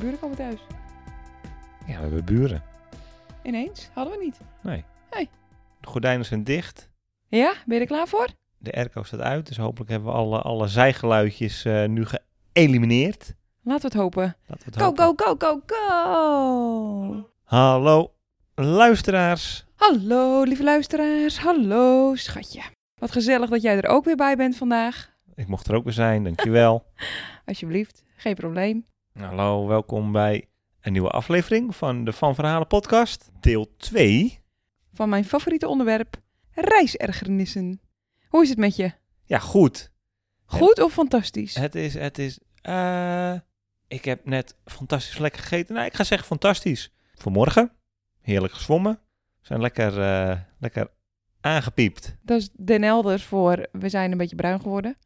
Buren komen thuis. Ja, we hebben buren. Ineens? Hadden we niet. Nee. Hey. De gordijnen zijn dicht, Ja, ben je er klaar voor? de airco staat uit, dus hopelijk hebben we alle, alle zijgeluidjes eh, nu geëlimineerd. Laten we het hopen. Laten we het Go, hopen. go, go, go, go! Hallo, luisteraars. Hallo, lieve luisteraars. Hallo, schatje. Wat gezellig dat jij er ook weer bij bent vandaag. Ik mocht er ook weer zijn, dankjewel. Alsjeblieft, geen probleem. Hallo, welkom bij een nieuwe aflevering van de Van Verhalen podcast, deel 2. van mijn favoriete onderwerp, reisergernissen. Hoe is het met je? Ja, goed. Goed of fantastisch? Het is, het is. eh, ik heb net fantastisch lekker gegeten. Nou, ik ga zeggen fantastisch. Vanmorgen, heerlijk gezwommen. We zijn lekker, eh, lekker aangepiept. Dat is Den Elders voor we zijn een beetje bruin geworden.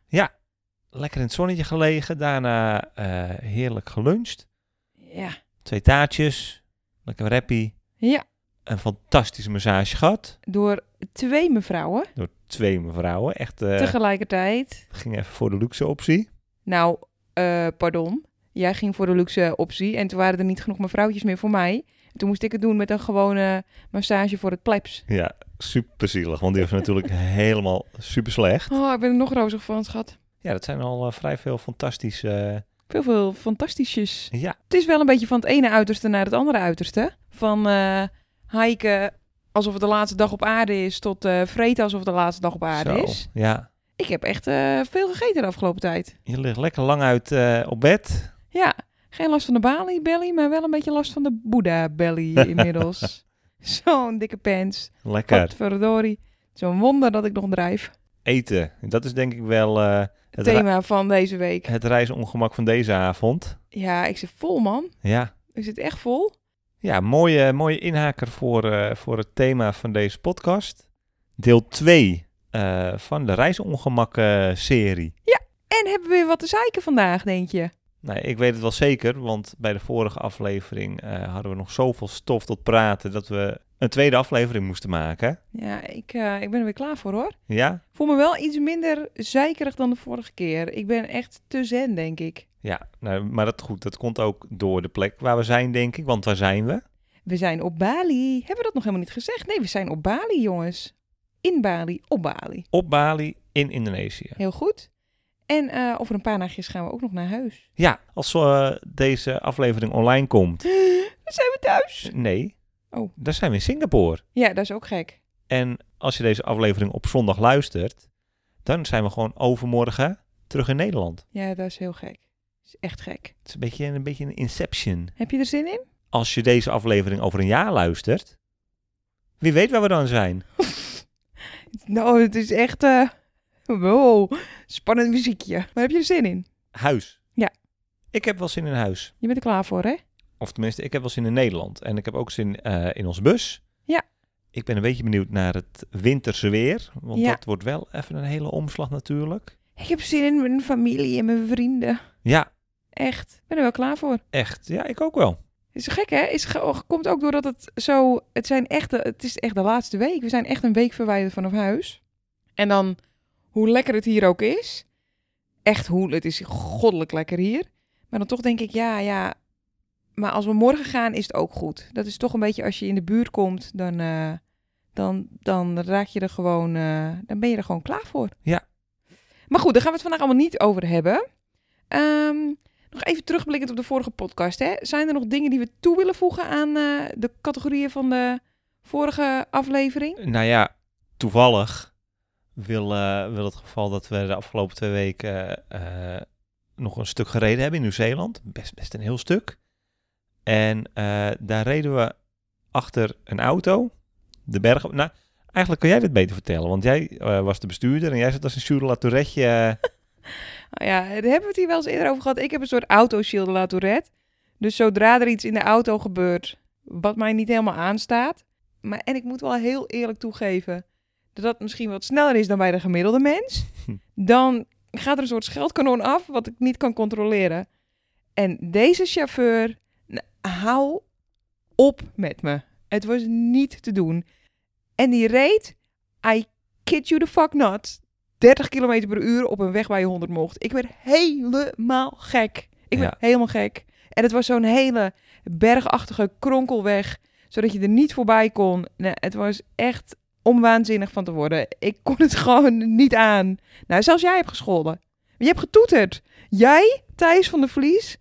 Lekker in het zonnetje gelegen. Daarna eh, heerlijk geluncht. Ja. Twee taartjes. Lekker rappie. Ja, Een fantastische massage gehad. door twee mevrouwen Door twee mevrouwen. Echt, eh, tegelijkertijd. ging even voor de luxe optie. Nou, eh, pardon. Jij ging voor de luxe optie en toen waren er niet genoeg mevrouwtjes meer voor mij. En toen moest ik het doen met een gewone massage voor het plebs. Ja, super zielig. Want die was natuurlijk helemaal super slecht. Oh, ik ben er nog rozig van, schat. Ja, dat zijn al eh, vrij veel fantastische... eh, Veel, veel fantastisches. ja, Het is wel een beetje van het ene uiterste naar het andere uiterste. Van eh hiken alsof het de laatste dag op aarde is, tot eh vreten alsof het de laatste dag op aarde zo. is. Ja. Ik heb echt eh, veel gegeten de afgelopen tijd. Je ligt lekker lang uit eh, op bed. Ja, geen last van de Bali belly, maar wel een beetje last van de Boeddha belly inmiddels. Zo'n dikke pants. Lekker Godverdorie. Zo'n wonder dat ik nog drijf. eten. Dat is denk ik wel eh, Het het, re- thema van deze week. het reisongemak van deze avond. Ja, ik zit vol man. Ja, Ik zit echt vol. ja mooie, mooie inhaker voor, eh, voor het thema van deze podcast. Deel 2 van de reisongemak-serie. En hebben we weer wat te zeiken vandaag, denk je? nou, ik weet het wel zeker, want bij de vorige aflevering eh, hadden we nog zoveel stof tot praten dat we een tweede aflevering moesten maken. Ja, ik, eh, ik ben er weer klaar voor hoor. Ja? voel me wel iets minder zeikerig dan de vorige keer. Ik ben echt te zen, denk ik. Ja, nou, maar dat goed, dat komt ook door de plek waar we zijn, denk ik. Want waar zijn we? We zijn op Bali. Hebben we dat nog helemaal niet gezegd? Nee, we zijn op Bali, jongens. In Bali, op Bali. Op Bali in Indonesië. Heel goed. En eh, over een paar nachtjes gaan we ook nog naar huis. Ja, als eh, deze aflevering online komt. Dan zijn we thuis. Nee. Oh. Dan zijn we in Singapore. Ja, dat is ook gek. En als je deze aflevering op zondag luistert, dan zijn we gewoon overmorgen terug in Nederland. Ja, dat is heel gek. Dat is echt gek. Het is een beetje een, beetje een inception. Heb je er zin in? Als je deze aflevering over een jaar luistert, wie weet waar we dan zijn. Nou, het is echt... eh, wow, spannend muziekje. Maar heb je er zin in? Huis. Ja. Ik heb wel zin in huis. Je bent er klaar voor, hè? Of tenminste, ik heb wel zin in Nederland. En ik heb ook zin eh, in ons bus. Ja. Ik ben een beetje benieuwd naar het winterse weer. Want Ja. dat wordt wel even een hele omslag natuurlijk. Ik heb zin in mijn familie en mijn vrienden. Ja, Echt. Ik ben er wel klaar voor. Echt? Ja, ik ook wel. Is gek, hè? Is ge- oh, komt ook doordat het zo... Het, zijn echt de, het is echt de laatste week. We zijn echt een week verwijderd vanaf huis. En dan, hoe lekker het hier ook is... Echt, hoe, het is goddelijk lekker hier. Maar dan toch denk ik, ja, ja... Maar als we morgen gaan, is het ook goed. Dat is toch een beetje, als je in de buurt komt, dan, eh, dan, dan raak je er gewoon... eh, dan ben je er gewoon klaar voor. Ja. Maar goed, daar gaan we het vandaag allemaal niet over hebben. Ehm, nog even terugblikkend op de vorige podcast. Hè? Zijn er nog dingen die we toe willen voegen aan eh, de categorieën van de vorige aflevering? Nou ja, toevallig wil, eh, wil het geval dat we de afgelopen twee weken eh, eh, nog een stuk gereden hebben in Nieuw-Zeeland. Best, best een heel stuk. En eh, daar reden we achter een auto. De bergen. op. Nou, Eigenlijk kun jij dit beter vertellen, want jij eh, was de bestuurder en jij zat als een Jules Latouretje. eh, Nou ja, daar hebben we het hier wel eens eerder over gehad. Ik heb een soort autoshield de La Tourette. Dus zodra er iets in de auto gebeurt wat mij niet helemaal aanstaat. Maar, en ik moet wel heel eerlijk toegeven dat dat misschien wat sneller is dan bij de gemiddelde mens. Dan gaat er een soort scheldkanon af wat ik niet kan controleren. En deze chauffeur, nou, hou op met me. Het was niet te doen. En die reed, I kid you the fuck not, 30 km per uur op een weg waar je 100 mocht. Ik werd helemaal gek. Ik werd Ja. helemaal gek. En het was zo'n hele bergachtige kronkelweg, zodat je er niet voorbij kon. Nou, het was echt om waanzinnig van te worden. Ik kon het gewoon niet aan. Nou, zelfs jij hebt gescholden. Je hebt getoeterd. Jij, Thijs van de Vlies,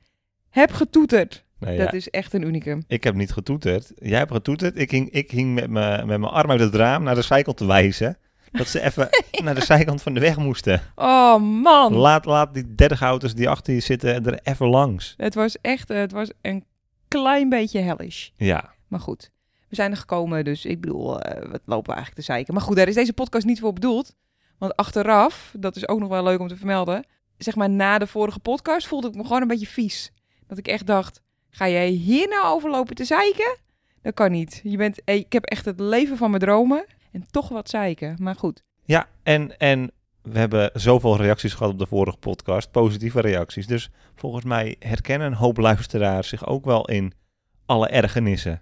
hebt getoeterd. nou ja, Dat is echt een unicum. Ik heb niet getoeterd. Jij hebt getoeterd. Ik hing, ik hing met, me, met mijn arm uit het raam naar de zijkant te wijzen. Dat ze even naar de zijkant van de weg moesten. Oh man. Laat, laat die 30 auto's die achter je zitten er even langs. Het was echt eh, het was een klein beetje hellish. Ja, Maar goed, we zijn er gekomen, dus ik bedoel, eh, wat lopen we eigenlijk te zeiken. Maar goed, daar is deze podcast niet voor bedoeld. Want achteraf, dat is ook nog wel leuk om te vermelden, zeg maar na de vorige podcast voelde ik me gewoon een beetje vies. Dat ik echt dacht, ga jij hier nou over lopen te zeiken? Dat kan niet. Je bent, eh, ik heb echt het leven van mijn dromen en toch wat zeiken. Maar goed, ja en, en we hebben zoveel reacties gehad op de vorige podcast. Positieve reacties. Dus volgens mij herkennen een hoop luisteraars zich ook wel in alle ergernissen.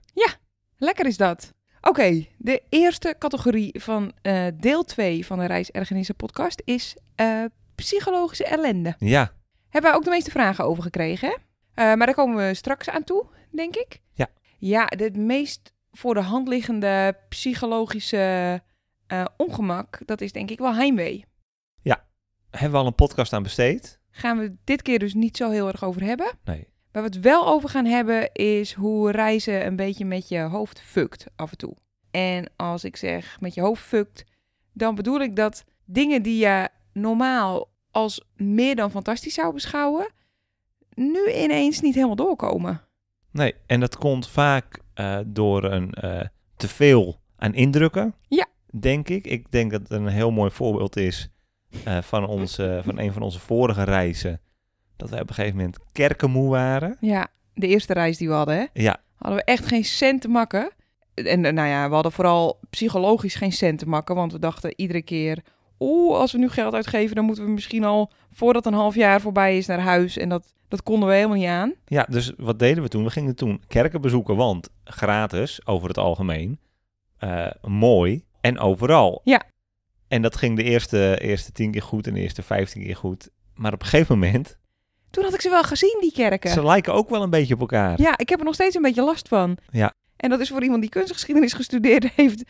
lekker is dat. Oké, de eerste categorie van eh, deel 2 van de Reis Ergernissen podcast is eh, psychologische ellende. Ja, Hebben wij ook de meeste vragen over gekregen. hè? Eh, maar daar komen we straks aan toe, denk ik. Ja. Ja, het meest voor de hand liggende psychologische eh, ongemak, dat is denk ik wel heimwee. hebben we al een podcast aan besteed? Gaan we dit keer dus niet zo heel erg over hebben. Nee. Waar we het wel over gaan hebben is hoe reizen een beetje met je hoofd fukt af en toe. En als ik zeg met je hoofd fukt, dan bedoel ik dat dingen die je normaal als meer dan fantastisch zou beschouwen, nu ineens niet helemaal doorkomen. Nee, en dat komt vaak eh, door een eh te veel aan indrukken. Ja. Denk ik. Ik denk dat het een heel mooi voorbeeld is eh, van, onze, van een van onze vorige reizen. Dat wij op een gegeven moment kerkenmoe waren. Ja, de eerste reis die we hadden, hè? Ja, hadden we echt geen cent te makken. En eh, nou ja, we hadden vooral psychologisch geen cent te makken, want we dachten iedere keer, oeh, als we nu geld uitgeven, dan moeten we misschien al voordat een half jaar voorbij is naar huis. En dat, dat konden we helemaal niet aan. ja, dus wat deden we toen? We gingen toen kerken bezoeken, want gratis over het algemeen. eh, mooi en overal. Ja. En dat ging de eerste, eerste tien keer goed en de eerste vijftien keer goed. Maar op een gegeven moment, Toen had ik ze wel gezien, die kerken. ze lijken ook wel een beetje op elkaar. Ja, ik heb er nog steeds een beetje last van. Ja. En dat is voor iemand die kunstgeschiedenis gestudeerd heeft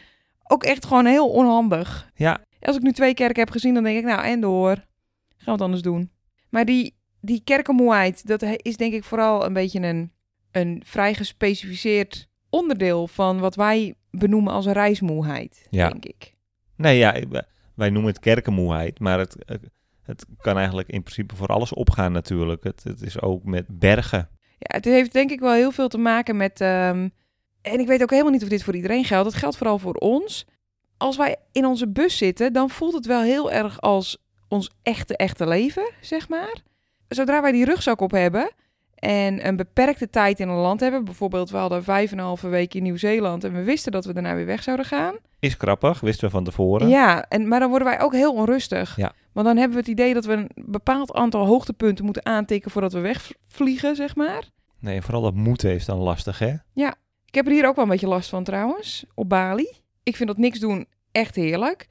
ook echt gewoon heel onhandig. ja als ik nu twee kerken heb gezien, dan denk ik, nou, en door. Gaan we het anders doen. Maar die, die kerkenmoeheid, dat he- is denk ik vooral een beetje een, een vrij gespecificeerd onderdeel van wat wij benoemen als reismoeheid, Ja. denk ik. Nee, ja, ik- wij- wij noemen het kerkenmoeheid, maar het, eh, het kan eigenlijk in principe voor alles opgaan natuurlijk. Het, het is ook met bergen. Ja, het heeft denk ik wel heel veel te maken met. ehm, en ik weet ook helemaal niet of dit voor iedereen geldt. Het geldt vooral voor ons. Als wij in onze bus zitten, dan voelt het wel heel erg als ons echte, echte leven, zeg maar. Zodra wij die rugzak op hebben en een beperkte tijd in een land hebben, bijvoorbeeld we hadden vijf en een halve week in Nieuw-Zeeland en we wisten dat we daarna weer weg zouden gaan. Is grappig, wisten we van tevoren. Ja, en, maar dan worden wij ook heel onrustig. Ja. Want dan hebben we het idee dat we een bepaald aantal hoogtepunten moeten aantikken voordat we wegvliegen, zeg maar. Nee, vooral dat moeten is dan lastig, hè? Ik heb er hier ook wel een beetje last van trouwens, op Bali. Ik vind dat niks doen echt heerlijk.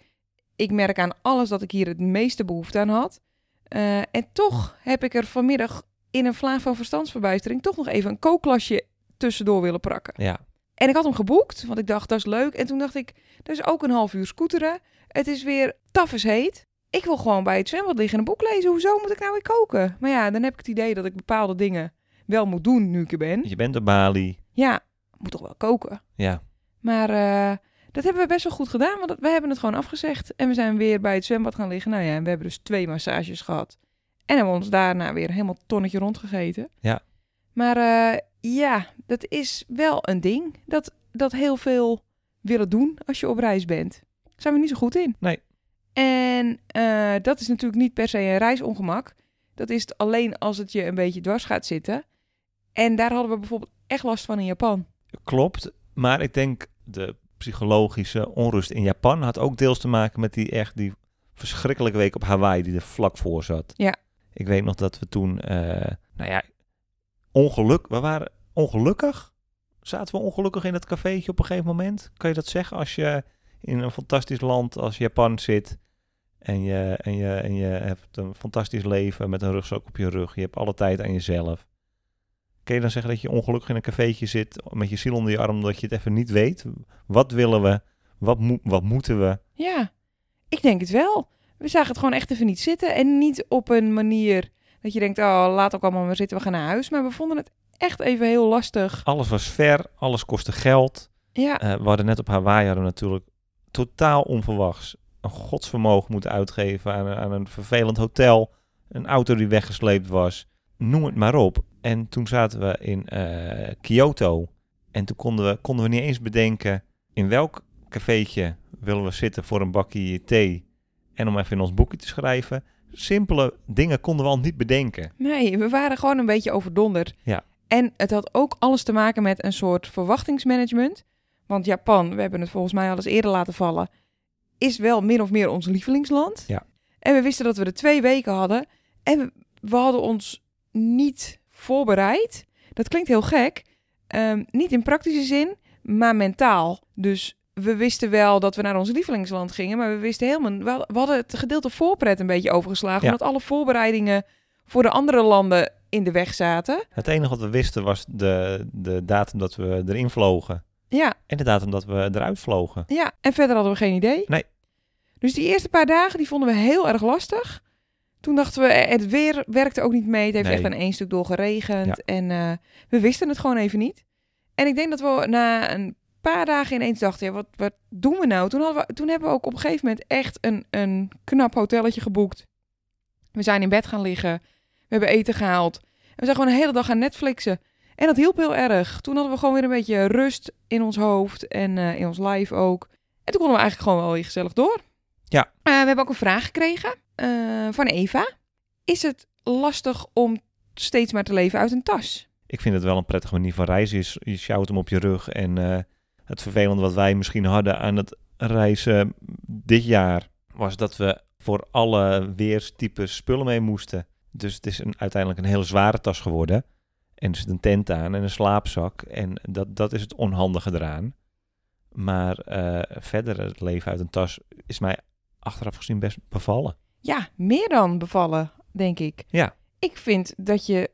Ik merk aan alles dat ik hier het meeste behoefte aan had. Eh, en toch heb ik er vanmiddag in een vlaag van verstandsverbijstering toch nog even een kookklasje tussendoor willen prakken. Ja. En ik had hem geboekt, want ik dacht, dat is leuk. En toen dacht ik, dat is ook een half uur scooteren. Het is weer taf is heet. Ik wil gewoon bij het zwembad liggen en een boek lezen. Hoezo moet ik nou weer koken? Maar ja, dan heb ik het idee dat ik bepaalde dingen wel moet doen nu ik er ben. Je bent op Bali. Ja, ik moet toch wel koken. Ja. Maar eh, dat hebben we best wel goed gedaan, want dat- we hebben het gewoon afgezegd. En we zijn weer bij het zwembad gaan liggen. Nou ja, en we hebben dus twee massages gehad. En hebben we ons daarna weer helemaal tonnetje rondgegeten. Ja. Maar eh, ja, dat is wel een ding. Dat, dat heel veel willen doen als je op reis bent. zijn we niet zo goed in. Nee. En eh, dat is natuurlijk niet per se een reisongemak. Dat is het alleen als het je een beetje dwars gaat zitten. En daar hadden we bijvoorbeeld echt last van in Japan. Klopt, maar ik denk de psychologische onrust in Japan had ook deels te maken met die echt die verschrikkelijke week op Hawaii die er vlak voor zat. Ja. Ik weet nog dat we toen, eh, nou ja, ongeluk, we waren ongelukkig. Zaten we ongelukkig in dat cafeetje op een gegeven moment? Kan je dat zeggen als je in een fantastisch land als Japan zit en je, en je, en je hebt een fantastisch leven met een rugzak op je rug. Je hebt alle tijd aan jezelf. Kun je dan zeggen dat je ongelukkig in een cafeetje zit met je ziel onder je arm, dat je het even niet weet? Wat willen we? Wat, moet wat moeten we? Ja, ik denk het wel. We zagen het gewoon echt even niet zitten. En niet op een manier dat je denkt, oh, laat ook allemaal maar zitten, we gaan naar huis. Maar we vonden het echt even heel lastig. Alles was ver, alles kostte geld. Ja, Eh, we hadden net op Hawaii hadden we natuurlijk totaal onverwachts een godsvermogen moeten uitgeven aan, een- aan een vervelend hotel, een auto die weggesleept was, noem het maar op. En toen zaten we in eh, Kyoto en toen konden we, konden we niet eens bedenken in welk cafeetje willen we zitten voor een bakje thee en om even in ons boekje te schrijven. Simpele dingen konden we al niet bedenken. nee, we waren gewoon een beetje overdonderd. Ja. En het had ook alles te maken met een soort verwachtingsmanagement. Want Japan, we hebben het volgens mij al eens eerder laten vallen, is wel min of meer ons lievelingsland. Ja. En we wisten dat we er twee weken hadden. En we, we hadden ons niet voorbereid. Dat klinkt heel gek. Ehm, niet in praktische zin, maar mentaal. Dus we wisten wel dat we naar ons lievelingsland gingen, maar we wisten helemaal. We hadden- we hadden het gedeelte voorpret een beetje overgeslagen, Ja. omdat alle voorbereidingen voor de andere landen in de weg zaten. Het enige wat we wisten was de, de datum dat we erin vlogen Ja, en de datum dat we eruit vlogen. ja. En verder hadden we geen idee. Nee. Dus die eerste paar dagen die vonden we heel erg lastig. Toen dachten we, eh, het weer werkte ook niet mee. Het heeft Nee. echt aan één stuk doorgeregend. Ja. En eh, we wisten het gewoon even niet. En ik denk dat we na een paar dagen ineens dachten, ja, wat, wat doen we nou? Toen, hadden we, toen hebben we ook op een gegeven moment echt een, een knap hotelletje geboekt. We zijn in bed gaan liggen. We hebben eten gehaald. En we zijn gewoon een hele dag gaan Netflixen. En dat hielp heel erg. Toen hadden we gewoon weer een beetje rust in ons hoofd en eh, in ons lijf ook. En toen konden we eigenlijk gewoon wel weer gezellig door. Ja. Eh, we hebben ook een vraag gekregen eh, van Eva. Is het lastig om steeds maar te leven uit een tas? ik vind het wel een prettige manier van reizen. Je, s- je sjouwt hem op je rug. En eh, het vervelende wat wij misschien hadden aan het reizen dit jaar... was dat we voor alle weerstypes spullen mee moesten. Dus het is een, uiteindelijk een hele zware tas geworden. En er zit een tent aan en een slaapzak. En dat, dat is het onhandige eraan. Maar eh, verder het leven uit een tas is mij achteraf gezien best bevallen. Ja, meer dan bevallen, denk ik. Ja. Ik vind dat je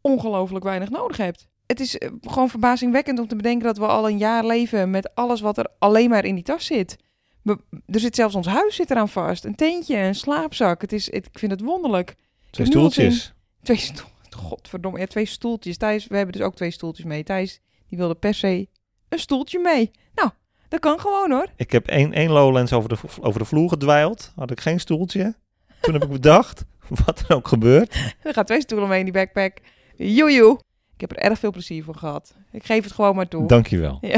ongelooflijk weinig nodig hebt. Het is eh, gewoon verbazingwekkend om te bedenken dat we al een jaar leven met alles wat er alleen maar in die tas zit. We- er zit zelfs ons huis zit eraan vast. Een tentje, een slaapzak. Het is, het- ik vind het wonderlijk. Twee heb nu al zin. stoeltjes. Twee stoeltjes. Godverdomme. Ja, twee stoeltjes. Thijs, we hebben dus ook twee stoeltjes mee. Thijs, die wilde per se een stoeltje mee. Nou, dat kan gewoon hoor. Ik heb één, één Lowlands over de, v- over de vloer gedwijld. Had ik geen stoeltje. Toen heb ik bedacht, wat er ook gebeurt. Er gaan twee stoelen mee in die backpack. Joejoe. Ik heb er erg veel plezier van gehad. Ik geef het gewoon maar toe. Dankjewel. Eh,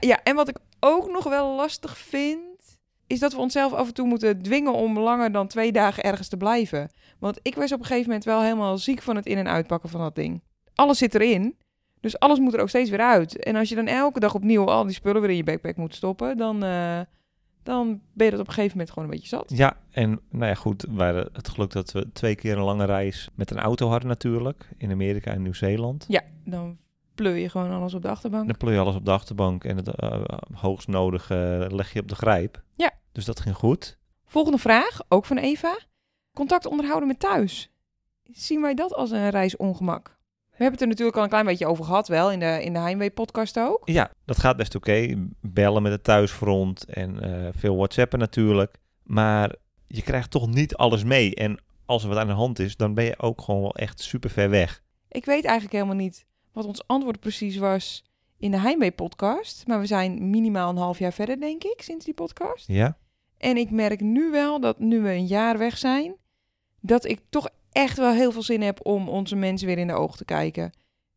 ja, en wat ik ook nog wel lastig vind, is dat we onszelf af en toe moeten dwingen om langer dan twee dagen ergens te blijven. Want ik was op een gegeven moment wel helemaal ziek van het in- en uitpakken van dat ding. Alles zit erin, dus alles moet er ook steeds weer uit. En als je dan elke dag opnieuw al die spullen weer in je backpack moet stoppen, dan, eh, dan ben je dat op een gegeven moment gewoon een beetje zat. Ja, en nou ja, goed. We hadden het geluk dat we twee keer een lange reis met een auto hadden natuurlijk. In Amerika en Nieuw-Zeeland. Ja, dan pleur je gewoon alles op de achterbank. Dan pleur je alles op de achterbank en het eh, hoogst nodige leg je op de grijp. Ja. Dus dat ging goed. Volgende vraag, ook van Eva. Contact onderhouden met thuis. Zien wij dat als een reisongemak? We hebben het er natuurlijk al een klein beetje over gehad, wel in de, in de Heimwee-podcast ook. Ja, dat gaat best oké. Bellen met het thuisfront en eh, veel whatsappen natuurlijk. Maar je krijgt toch niet alles mee. En als er wat aan de hand is, dan ben je ook gewoon wel echt super ver weg. Ik weet eigenlijk helemaal niet wat ons antwoord precies was in de Heimwee-podcast. Maar we zijn minimaal een half jaar verder, denk ik, sinds die podcast. Ja? En ik merk nu wel dat nu we een jaar weg zijn, dat ik toch echt wel heel veel zin heb om onze mensen weer in de ogen te kijken.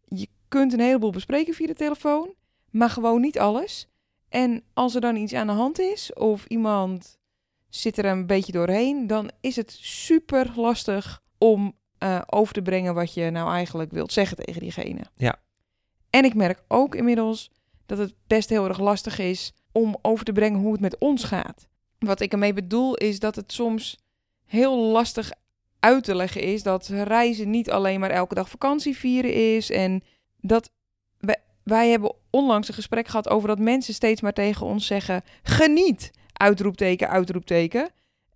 Je kunt een heleboel bespreken via de telefoon, maar gewoon niet alles. En als er dan iets aan de hand is of iemand zit er een beetje doorheen, dan is het super lastig om eh, over te brengen wat je nou eigenlijk wilt zeggen tegen diegene. Ja. En ik merk ook inmiddels dat het best heel erg lastig is om over te brengen hoe het met ons gaat. Wat ik ermee bedoel is dat het soms heel lastig uit te leggen is dat reizen niet alleen maar elke dag vakantie vieren is en dat wij, wij hebben onlangs een gesprek gehad over dat mensen steeds maar tegen ons zeggen geniet uitroepteken uitroepteken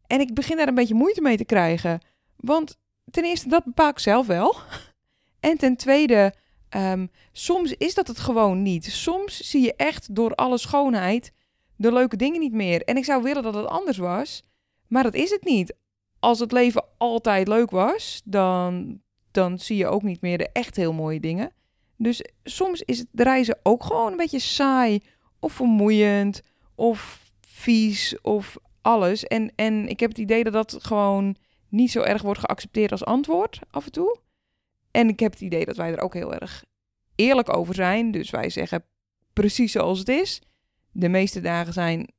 en ik begin daar een beetje moeite mee te krijgen want ten eerste dat bepaal ik zelf wel en ten tweede ehm, soms is dat het gewoon niet soms zie je echt door alle schoonheid de leuke dingen niet meer en ik zou willen dat het anders was maar dat is het niet als het leven altijd leuk was, dan, dan zie je ook niet meer de echt heel mooie dingen. Dus soms is het reizen ook gewoon een beetje saai of vermoeiend of vies of alles. En, en ik heb het idee dat dat gewoon niet zo erg wordt geaccepteerd als antwoord af en toe. En ik heb het idee dat wij er ook heel erg eerlijk over zijn. Dus wij zeggen precies zoals het is. De meeste dagen zijn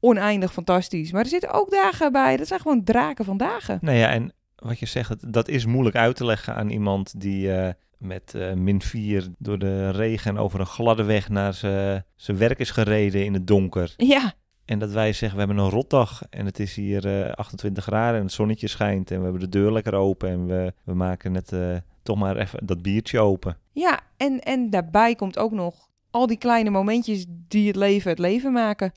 oneindig fantastisch. Maar er zitten ook dagen bij. Dat zijn gewoon draken van dagen. Nou ja, en wat je zegt, het- dat is moeilijk uit te leggen aan iemand die eh, met eh, min 4 door de regen en over een gladde weg naar zijn zijn werk is gereden in het donker. Ja, En dat wij zeggen, we hebben een rotdag en het is hier eh, 28 graden en het zonnetje schijnt en we hebben de deur lekker open en we, we maken net eh, toch maar even dat biertje open. ja. En, en daarbij komt ook nog al die kleine momentjes die het leven het leven maken.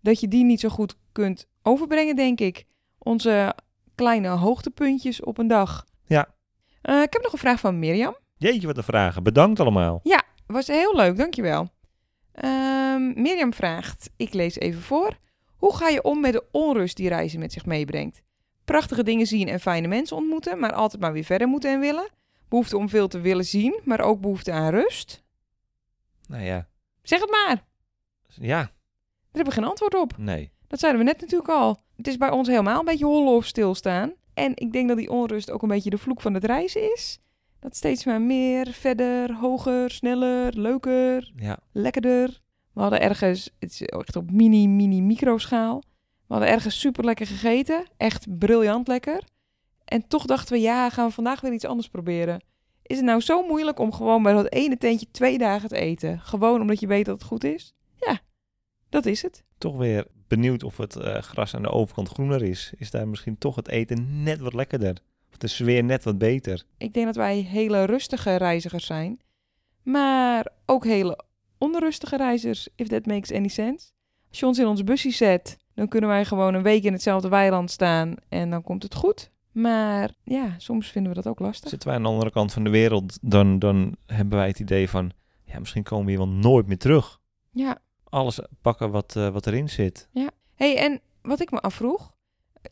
Dat je die niet zo goed kunt overbrengen, denk ik. Onze kleine hoogtepuntjes op een dag. Ja. Eh, ik heb nog een vraag van Mirjam. Jeetje, wat een vragen. Bedankt allemaal. Was heel leuk, dankjewel. Ehm Mirjam vraagt, ik lees even voor. Hoe ga je om met de onrust die reizen met zich meebrengt? Prachtige dingen zien en fijne mensen ontmoeten, maar altijd maar weer verder moeten en willen. Behoefte om veel te willen zien, maar ook behoefte aan rust. Nou ja, Zeg het maar, ja, daar hebben we geen antwoord op. nee. Dat zeiden we net natuurlijk al. Het is bij ons helemaal een beetje hollen of stilstaan. En ik denk dat die onrust ook een beetje de vloek van het reizen is. Dat steeds maar meer, verder, hoger, sneller, leuker, Ja, lekkerder. We hadden ergens, het is echt op mini, mini, microschaal. We hadden ergens super lekker gegeten. Echt briljant lekker. En toch dachten we, ja, gaan we vandaag weer iets anders proberen. Is het nou zo moeilijk om gewoon bij dat ene tentje twee dagen te eten? Gewoon omdat je weet dat het goed is? Ja, dat is het. toch weer benieuwd of het eh, gras aan de overkant groener is. Is daar misschien toch het eten net wat lekkerder? Of de sfeer net wat beter? Ik denk dat wij hele rustige reizigers zijn. Maar ook hele onrustige reizigers, if that makes any sense. Als je ons in ons busje zet, dan kunnen wij gewoon een week in hetzelfde weiland staan en dan komt het goed. Maar ja, soms vinden we dat ook lastig. Zitten wij aan de andere kant van de wereld, dan, dan hebben wij het idee van... Ja, misschien komen we hier wel nooit meer terug. Ja. Alles pakken wat, eh, wat erin zit. hey, en wat ik me afvroeg.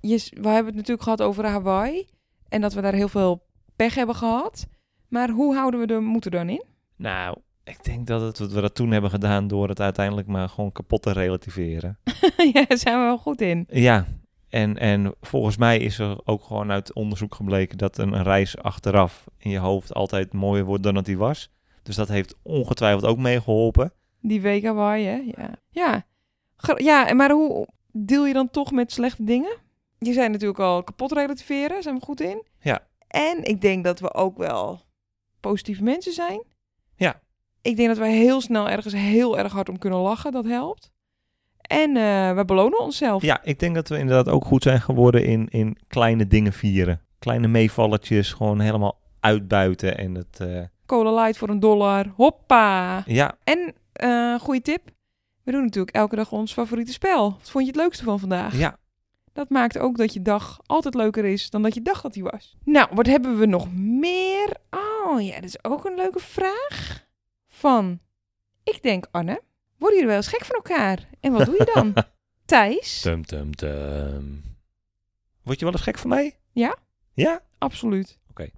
Je, s- we hebben het natuurlijk gehad over Hawaii. En dat we daar heel veel pech hebben gehad. Maar hoe houden we de moed er dan in? Nou, ik denk dat het, wat we dat toen hebben gedaan... door het uiteindelijk maar gewoon kapot te relativeren. ja, daar zijn we wel goed in. Ja, en, en volgens mij is er ook gewoon uit onderzoek gebleken dat een reis achteraf in je hoofd altijd mooier wordt dan dat die was. Dus dat heeft ongetwijfeld ook meegeholpen. Die week Hawaii, hè? Ja. Ja. Gro- ja, en maar hoe deel je dan toch met slechte dingen? Je zijn natuurlijk al kapot relativeren, zijn we goed in. Ja. En ik denk dat we ook wel positieve mensen zijn. Ja. Ik denk dat wij heel snel ergens heel erg hard om kunnen lachen, dat helpt. En eh, we belonen onszelf. Ja, ik denk dat we inderdaad ook goed zijn geworden in, in kleine dingen vieren. Kleine meevalletjes, gewoon helemaal uitbuiten. En het, eh, Cola light voor een dollar, hoppa. ja, En, eh goede tip, we doen natuurlijk elke dag ons favoriete spel. Wat vond je het leukste van vandaag? ja, Dat maakt ook dat je dag altijd leuker is dan dat je dacht dat hij was. Nou, wat hebben we nog meer? Oh ja, dat is ook een leuke vraag. Van, ik denk Anne, worden jullie wel eens gek van elkaar? En wat doe je dan? Thijs? Tum, tum, tum. Word je wel eens gek van mij? Ja? Ja? Absoluut. Oké.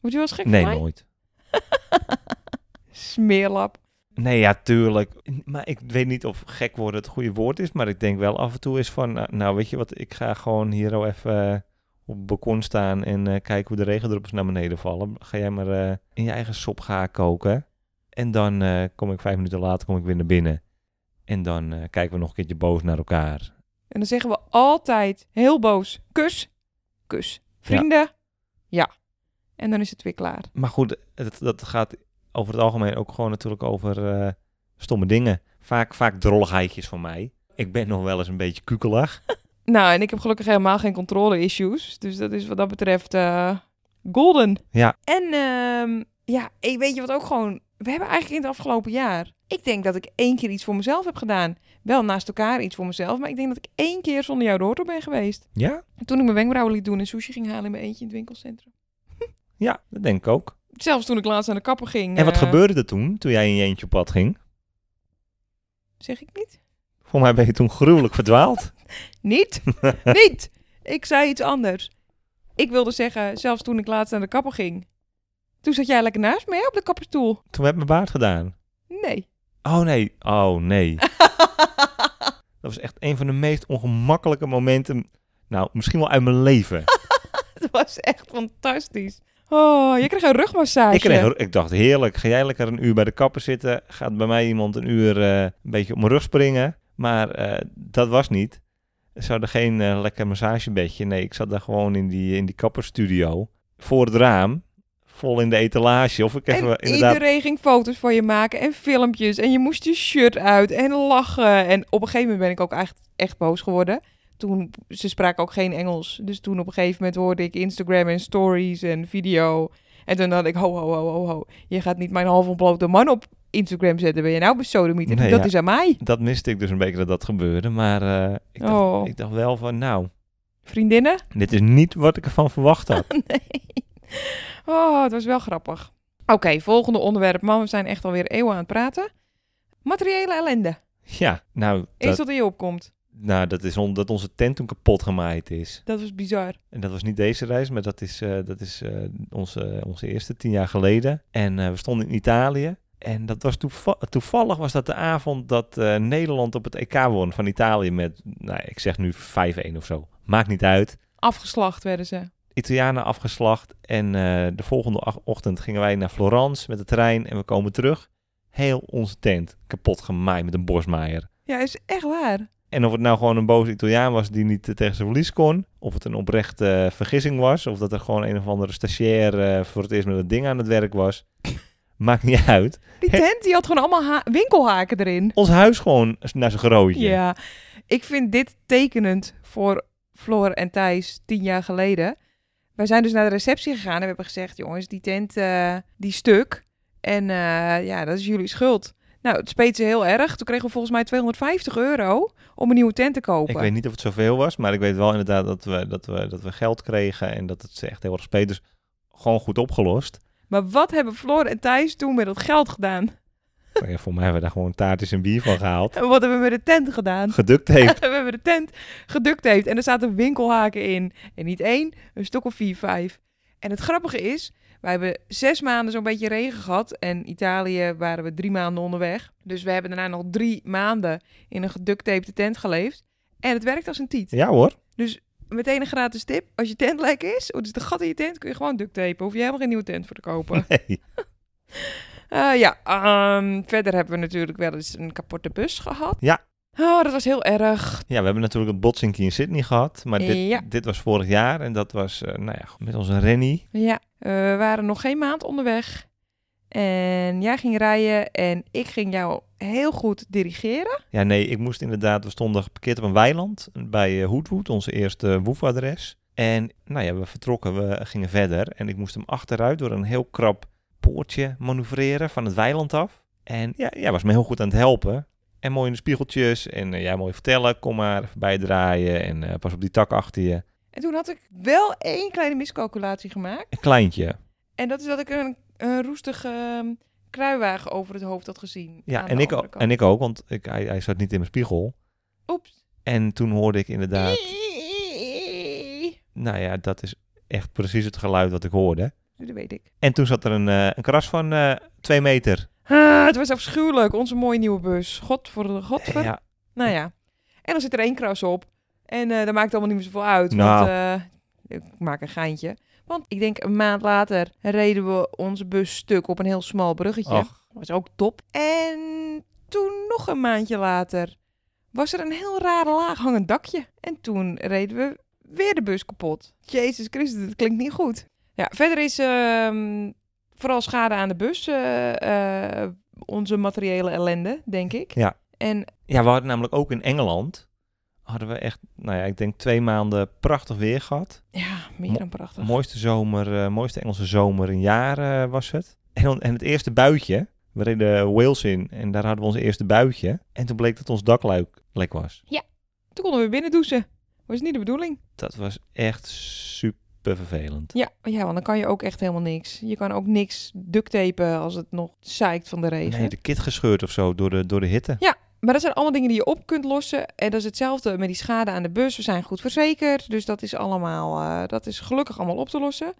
Word je wel eens gek Nee, van mij? nooit. Smeerlap. Nee, ja, tuurlijk. Maar ik weet niet of gek worden het goede woord is. Maar ik denk wel af en toe is van... nou, Nou, weet je wat? Ik ga gewoon hier al even eh, op het balkon staan... en eh, kijken hoe de regendruppels naar beneden vallen. Ga jij maar eh, in je eigen sop gaan koken. En dan eh, kom ik vijf minuten later kom ik weer naar binnen. En dan eh, kijken we nog een keertje boos naar elkaar. En dan zeggen we altijd heel boos: kus, kus. Vrienden, ja. En dan is het weer klaar. Maar goed, het, dat gaat over het algemeen ook gewoon natuurlijk over eh, stomme dingen. Vaak, vaak drolligheidjes van mij. Ik ben nog wel eens een beetje kukelig. Nou, en ik heb gelukkig helemaal geen controle-issues. Dus dat is wat dat betreft eh, golden. Ja. En ehm, ja, ik weet je wat ook gewoon... We hebben eigenlijk in het afgelopen jaar... Ik denk dat ik één keer iets voor mezelf heb gedaan. Wel naast elkaar iets voor mezelf. Maar ik denk dat ik één keer zonder jou de auto ben geweest. Ja? Toen ik mijn wenkbrauwen liet doen en sushi ging halen in mijn eentje in het winkelcentrum. Ja, dat denk ik ook. Zelfs toen ik laatst aan de kapper ging. En wat eh, gebeurde er toen, toen jij in je eentje op pad ging? Zeg ik niet? Voor mij ben je toen gruwelijk verdwaald. Niet? niet! Ik zei iets anders. Ik wilde zeggen, zelfs toen ik laatst aan de kapper ging. Toen zat jij lekker naast me hè, op de kapperstoel. Toen heb ik mijn baard gedaan. Nee. Oh nee, oh nee. Dat was echt een van de meest ongemakkelijke momenten. Nou, misschien wel uit mijn leven. Het was echt fantastisch. Oh, je kreeg een rugmassage. Ik, kreeg, ik dacht, heerlijk, ga jij lekker een uur bij de kapper zitten? Gaat bij mij iemand een uur eh, een beetje op mijn rug springen? Maar eh, dat was niet. Ze hadden geen eh, lekker massagebedje. Nee, ik zat daar gewoon in die, in die kapperstudio. Voor het raam, vol in de etalage. Of ik even en inderdaad... iedereen ging foto's van je maken en filmpjes. En je moest je shirt uit en lachen. En op een gegeven moment ben ik ook echt, echt boos geworden. Toen, ze spraken ook geen Engels. Dus toen op een gegeven moment hoorde ik Instagram en stories en video. En toen dacht ik, ho, ho, ho, ho, ho. Je gaat niet mijn half ontblote man op Instagram zetten. Ben je nou besodemieter? Nee, dat ja. is aan mij. Dat miste ik dus een beetje dat dat gebeurde. Maar eh, ik, dacht, Oh. ik dacht wel van, nou, Vriendinnen? dit is niet wat ik ervan verwacht had. nee. Oh, het was wel grappig. Oké, volgende onderwerp. Man, we zijn echt alweer eeuwen aan het praten. Materiële ellende. ja, nou Eens dat, wat in je opkomt. nou, dat is omdat onze tent toen kapot gemaaid is. Dat was bizar. En dat was niet deze reis, maar dat is, eh, dat is eh, onze, onze eerste tien jaar geleden. En eh, we stonden in Italië. En dat was toeva- toevallig was dat de avond dat eh, Nederland op het EK won van Italië met, nou, ik zeg nu 5-1 of zo. Maakt niet uit. Afgeslacht werden ze. Italianen afgeslacht. En eh, de volgende ach- ochtend gingen wij naar Florence met de trein en we komen terug. Heel onze tent kapot gemaaid met een borstmaaier. Ja, is echt waar. En of het nou gewoon een boze Italiaan was die niet eh, tegen zijn verlies kon. Of het een oprechte eh, vergissing was. Of dat er gewoon een of andere stagiair eh, voor het eerst met dat ding aan het werk was. Maakt niet uit. Die Hè? tent die had gewoon allemaal ha- winkelhaken erin. Ons huis gewoon naar zijn grootje. Ja, ik vind dit tekenend voor Floor en Thijs tien jaar geleden. Wij zijn dus naar de receptie gegaan en we hebben gezegd, jongens, die tent, eh, die stuk. En eh, ja, dat is jullie schuld. Nou, het speet ze heel erg. Toen kregen we volgens mij 250 euro om een nieuwe tent te kopen. Ik weet niet of het zoveel was. Maar ik weet wel inderdaad dat we, dat we, dat we geld kregen. En dat het ze echt heel erg speet. Dus gewoon goed opgelost. Maar wat hebben Floor en Thijs toen met dat geld gedaan? Maar ja, voor mij hebben we daar gewoon taartjes en bier van gehaald. En wat hebben we met de tent gedaan? Geduct heeft. we hebben de tent heeft en er zaten winkelhaken in. En niet één, een stuk of vier, vijf. En het grappige is, wij hebben zes maanden zo'n beetje regen gehad. En Italië waren we drie maanden onderweg. Dus we hebben daarna nog drie maanden in een geductapte tent geleefd. En het werkt als een tiet. Ja hoor. Meteen een gratis tip. Als je tent lek is, oh, dus de gat in je tent, kun je gewoon ducttapen. Hoef je helemaal geen nieuwe tent voor te kopen. Nee. Eh, ja, ehm, verder hebben we natuurlijk wel eens een kapotte bus gehad. Ja. Oh, dat was heel erg. Ja, we hebben natuurlijk het botsinkie in Sydney gehad. Maar dit, Ja. dit was vorig jaar. En dat was, eh, nou ja, met onze Rennie. Ja, eh, we waren nog geen maand onderweg. En jij ging rijden en ik ging jou heel goed dirigeren. Ja, nee, ik moest inderdaad. We stonden geparkeerd op een weiland bij eh, Hoedwood, onze eerste woefadres. En nou ja, we vertrokken, we gingen verder. En ik moest hem achteruit door een heel krap poortje manoeuvreren van het weiland af. En ja, jij was me heel goed aan het helpen. En mooi in de spiegeltjes. En eh, ja, mooi vertellen. Kom maar even bijdraaien. En eh, pas op die tak achter je. En toen had ik wel één kleine miscalculatie gemaakt. Een kleintje. En dat is dat ik een, een roestige ehm, kruiwagen over het hoofd had gezien. Ja, aan en de ik, andere ook, kant. en ik ook, want ik, hij, hij zat niet in mijn spiegel. Oeps. En toen hoorde ik inderdaad. Nou ja, dat is echt precies het geluid wat ik hoorde. Dat weet ik. En toen zat er een, eh, een kras van eh, twee meter. Ah, het was afschuwelijk. Onze mooie nieuwe bus. God voor de godver. Ja, Nou ja. En dan zit er één kras op. En eh dat maakt allemaal niet meer zoveel uit. Nou. Want eh, ik maak een geintje. Want ik denk een maand later reden we onze bus stuk op een heel smal bruggetje. ach, Dat was ook top. En Toen nog een maandje later was er een heel raar laag hangend dakje. En toen reden we weer de bus kapot. Jezus Christus, dat klinkt niet goed. Ja, verder is ehm, vooral schade aan de bus eh, eh, onze materiële ellende, denk ik. Ja. En Ja, we hadden namelijk ook in Engeland, hadden we echt, nou ja, ik denk twee maanden prachtig weer gehad. ja, meer Mo- dan prachtig. Mooiste zomer, eh, mooiste Engelse zomer in jaren eh, was het. En, en het eerste buitje, we reden Wales in en daar hadden we ons eerste buitje. En toen bleek dat ons dakluik lek was. Toen konden we binnen douchen. Was niet de bedoeling. Dat was echt super vervelend. Ja, ja, want dan kan je ook echt helemaal niks. Je kan ook niks ducttapen als het nog zeikt van de regen. Nee, de kit gescheurd of zo door de, door de hitte. Maar dat zijn allemaal dingen die je op kunt lossen. En dat is hetzelfde met die schade aan de bus. We zijn goed verzekerd. Dus dat is allemaal, eh, dat is gelukkig allemaal op te lossen.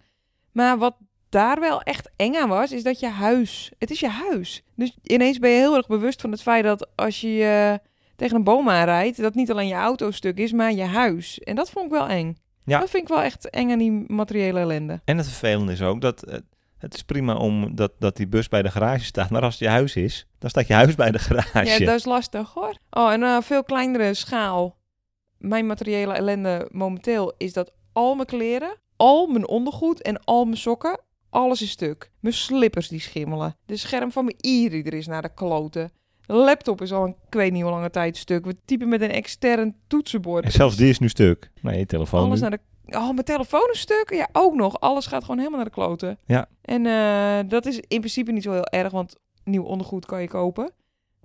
Maar wat daar wel echt eng aan was, is dat je huis, het is je huis. Dus ineens ben je heel erg bewust van het feit dat als je eh, tegen een boom aanrijdt, dat niet alleen je auto stuk is, maar je huis. En dat vond ik wel eng. Ja. Dat vind ik wel echt eng aan die materiële ellende. En het vervelende is ook dat eh, het is prima om dat, dat die bus bij de garage staat. Maar als het je huis is, dan staat je huis bij de garage. Ja, dat is lastig hoor. Oh, en een veel kleinere schaal. Mijn materiële ellende momenteel is dat al mijn kleren, al mijn ondergoed en al mijn sokken, alles is stuk. Mijn slippers die schimmelen. De scherm van mijn e-reader is naar de kloten. De laptop is al een, ik weet niet hoe lange tijd stuk. We typen met een extern toetsenbord. En zelfs die is nu stuk. Nee, je telefoon. Alles nu. naar de... Oh, mijn telefoon is stuk. Ja, ook nog. Alles gaat gewoon helemaal naar de kloten. Ja. En eh, dat is in principe niet zo heel erg, want nieuw ondergoed kan je kopen.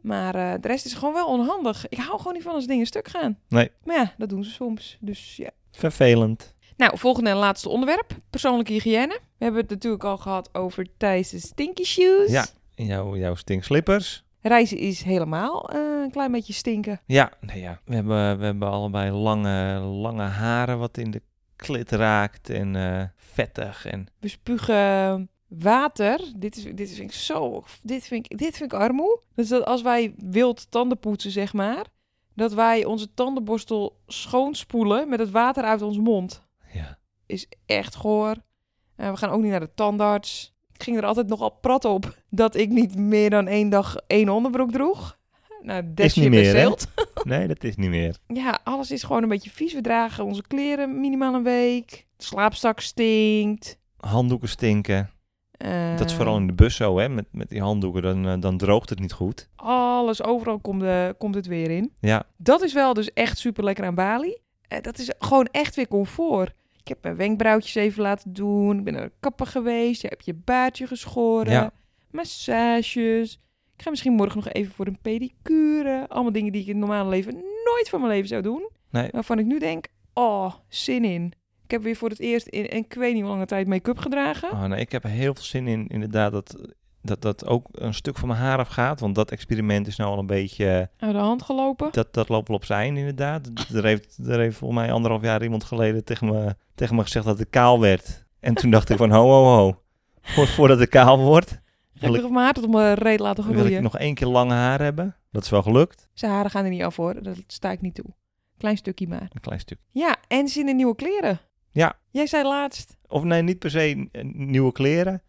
Maar eh, de rest is gewoon wel onhandig. Ik hou gewoon niet van als dingen stuk gaan. Nee. Maar ja, dat doen ze soms. Dus ja. Vervelend. Nou, volgende en laatste onderwerp. Persoonlijke hygiëne. We hebben het natuurlijk al gehad over Thijs' stinky shoes. Ja. Jouw, jouw stinkslippers. Reizen is helemaal eh, een klein beetje stinken. Ja, nee, ja. We, hebben, we hebben allebei lange, lange haren wat in de klit raakt. En eh, vettig. En We spugen water. Dit, is, dit vind ik zo. Dit vind ik, dit vind ik armoe. Dus dat als wij wild tanden poetsen, zeg maar. Dat wij onze tandenborstel schoonspoelen met het water uit ons mond. ja. Is echt goor. Eh, we gaan ook niet naar de tandarts. Ik ging er altijd nogal prat op dat ik niet meer dan één dag één onderbroek droeg. Nou, dat Is niet je meer, hè? besteld. Nee, dat is niet meer. Ja, alles is gewoon een beetje vies. We dragen onze kleren minimaal een week. De slaapzak stinkt. Handdoeken stinken. Dat is Eh, vooral in de bus zo, hè. Met, met die handdoeken, dan, eh, dan droogt het niet goed. Alles, overal komt, eh, komt het weer in. Ja. Dat is wel dus echt super lekker aan Bali. Eh, dat is gewoon echt weer comfort. Ik heb mijn wenkbrauwtjes even laten doen. Ik ben naar de kapper geweest. Je hebt je baardje geschoren. Ja. Massages. Ik ga misschien morgen nog even voor een pedicure. Allemaal dingen die ik in het normale leven nooit van mijn leven zou doen. Nee. Waarvan ik nu denk, oh, zin in. Ik heb weer voor het eerst in, en ik weet niet hoe lange tijd make-up gedragen. Oh, nou, ik heb er heel veel zin in, inderdaad, dat, dat dat ook een stuk van mijn haar afgaat. Want dat experiment is nou al een beetje, eh, Uit de hand gelopen. dat, dat loopt wel op zijn inderdaad. Er heeft, er heeft volgens mij anderhalf jaar iemand geleden tegen me, tegen me gezegd dat ik kaal werd. En toen dacht ik van, ho, ho, ho. Vo- Voordat ik kaal word, wil Gelukkig ik, heb mijn haar tot op mijn reet laten wil groeien. ik nog één keer lang haar hebben. Dat is wel gelukt. Zijn haren gaan er niet af hoor, dat sta ik niet toe. Klein stukje maar. Een klein stuk. Ja, en zin in nieuwe kleren. Ja. Jij zei laatst, Of nee, niet per se eh, nieuwe kleren.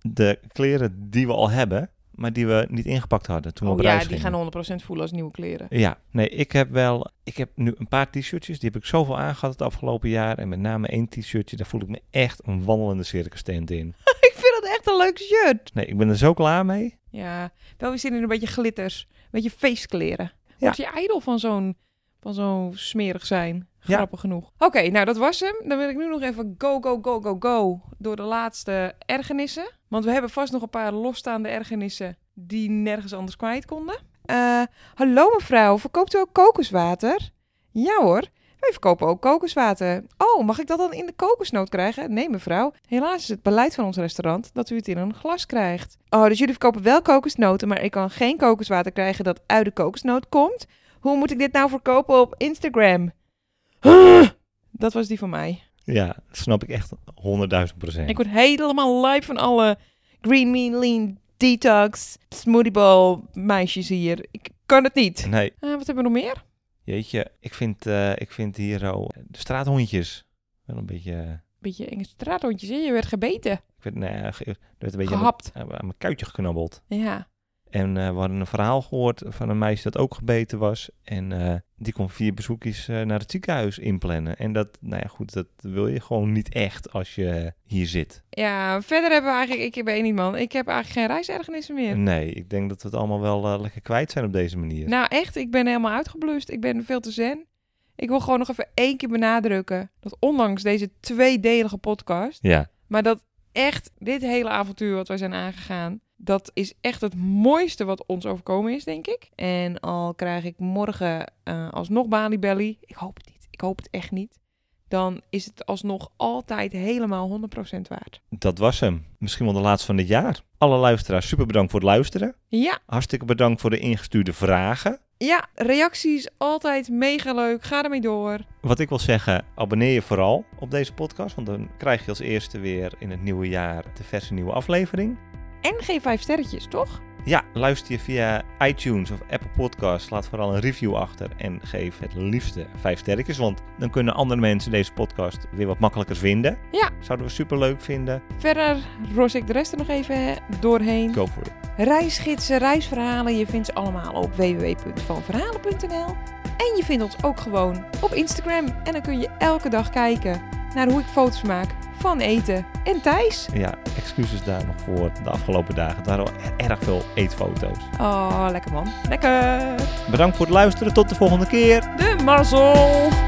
De kleren die we al hebben, maar die we niet ingepakt hadden toen we oh op ja, reis die gingen. gaan 100% voelen als nieuwe kleren. Ja, nee, ik heb wel. Ik heb nu een paar t-shirtjes. Die heb ik zoveel aangehad het afgelopen jaar. En met name één t-shirtje. Daar voel ik me echt een wandelende circus tent in. Dus ik vind dat echt een leuk shirt. Nee, ik ben er zo klaar mee. Ja, wel weer zin in een beetje glitters, een beetje feestkleren. Ja. Word je ijdel van zo'n van zo'n smerig zijn, grappig genoeg. Oké, nou dat was hem. Dan wil ik nu nog even go, go, go, go, go door de laatste ergernissen. Want we hebben vast nog een paar losstaande ergernissen die nergens anders kwijt konden. Eh, hallo mevrouw, verkoopt u ook kokoswater? Ja hoor, wij verkopen ook kokoswater. Oh, mag ik dat dan in de kokosnoot krijgen? Nee mevrouw, helaas is het beleid van ons restaurant dat u het in een glas krijgt. Oh, dus jullie verkopen wel kokosnoten, maar ik kan geen kokoswater krijgen dat uit de kokosnoot komt? Hoe moet ik dit nou verkopen op Instagram? Huh? Dat was die van mij. Ja, dat snap ik echt 100.000 procent. Ik word helemaal lijp van alle green, mean, lean, detox, smoothie bowl meisjes hier. Ik kan het niet. Nee, Eh, wat hebben we nog meer? jeetje. Ik vind, eh, ik vind hier oh, de straathondjes wel een beetje. eh, Beetje enge straathondjes, hè? Je werd gebeten, Ik vind, nou ja, ge- er werd een beetje aan gehapt. mijn- aan mijn kuitje geknabbeld. Ja. En eh, we hadden een verhaal gehoord van een meisje dat ook gebeten was. En eh, die kon vier bezoekjes eh, naar het ziekenhuis inplannen. En dat, nou ja, goed, dat wil je gewoon niet echt als je hier zit. Ja, verder hebben we eigenlijk... Ik ben niet man. Ik heb eigenlijk geen reisergenissen meer. Nee, ik denk dat we het allemaal wel eh, lekker kwijt zijn op deze manier. Nou, echt, ik ben helemaal uitgeblust. Ik ben veel te zen. Ik wil gewoon nog even één keer benadrukken dat ondanks deze tweedelige podcast, Ja, maar dat echt dit hele avontuur wat wij zijn aangegaan, dat is echt het mooiste wat ons overkomen is, denk ik. En al krijg ik morgen eh, alsnog Bali Belly, ik hoop het niet, ik hoop het echt niet, dan is het alsnog altijd helemaal 100% waard. dat was hem. Misschien wel de laatste van dit jaar. Alle luisteraars, super bedankt voor het luisteren. Ja, Hartstikke bedankt voor de ingestuurde vragen. ja, reacties altijd mega leuk. Ga ermee door. Wat ik wil zeggen, abonneer je vooral op deze podcast. Want dan krijg je als eerste weer in het nieuwe jaar de verse nieuwe aflevering. En geef vijf sterretjes, toch? Ja, luister je via iTunes of Apple Podcasts. Laat vooral een review achter en geef het liefste vijf sterretjes. Want dan kunnen andere mensen deze podcast weer wat makkelijker vinden. Ja. Zouden we super leuk vinden. Verder ros ik de rest er nog even doorheen. Go for it. Reisgidsen, reisverhalen, je vindt ze allemaal op www.vanverhalen.nl. En je vindt ons ook gewoon op Instagram. En dan kun je elke dag kijken naar hoe ik foto's maak van eten. En Thijs. Ja, excuses daar nog voor de afgelopen dagen. Daar waren erg veel eetfoto's. Oh, lekker man. Lekker. Bedankt voor het luisteren. Tot de volgende keer. De mazzel.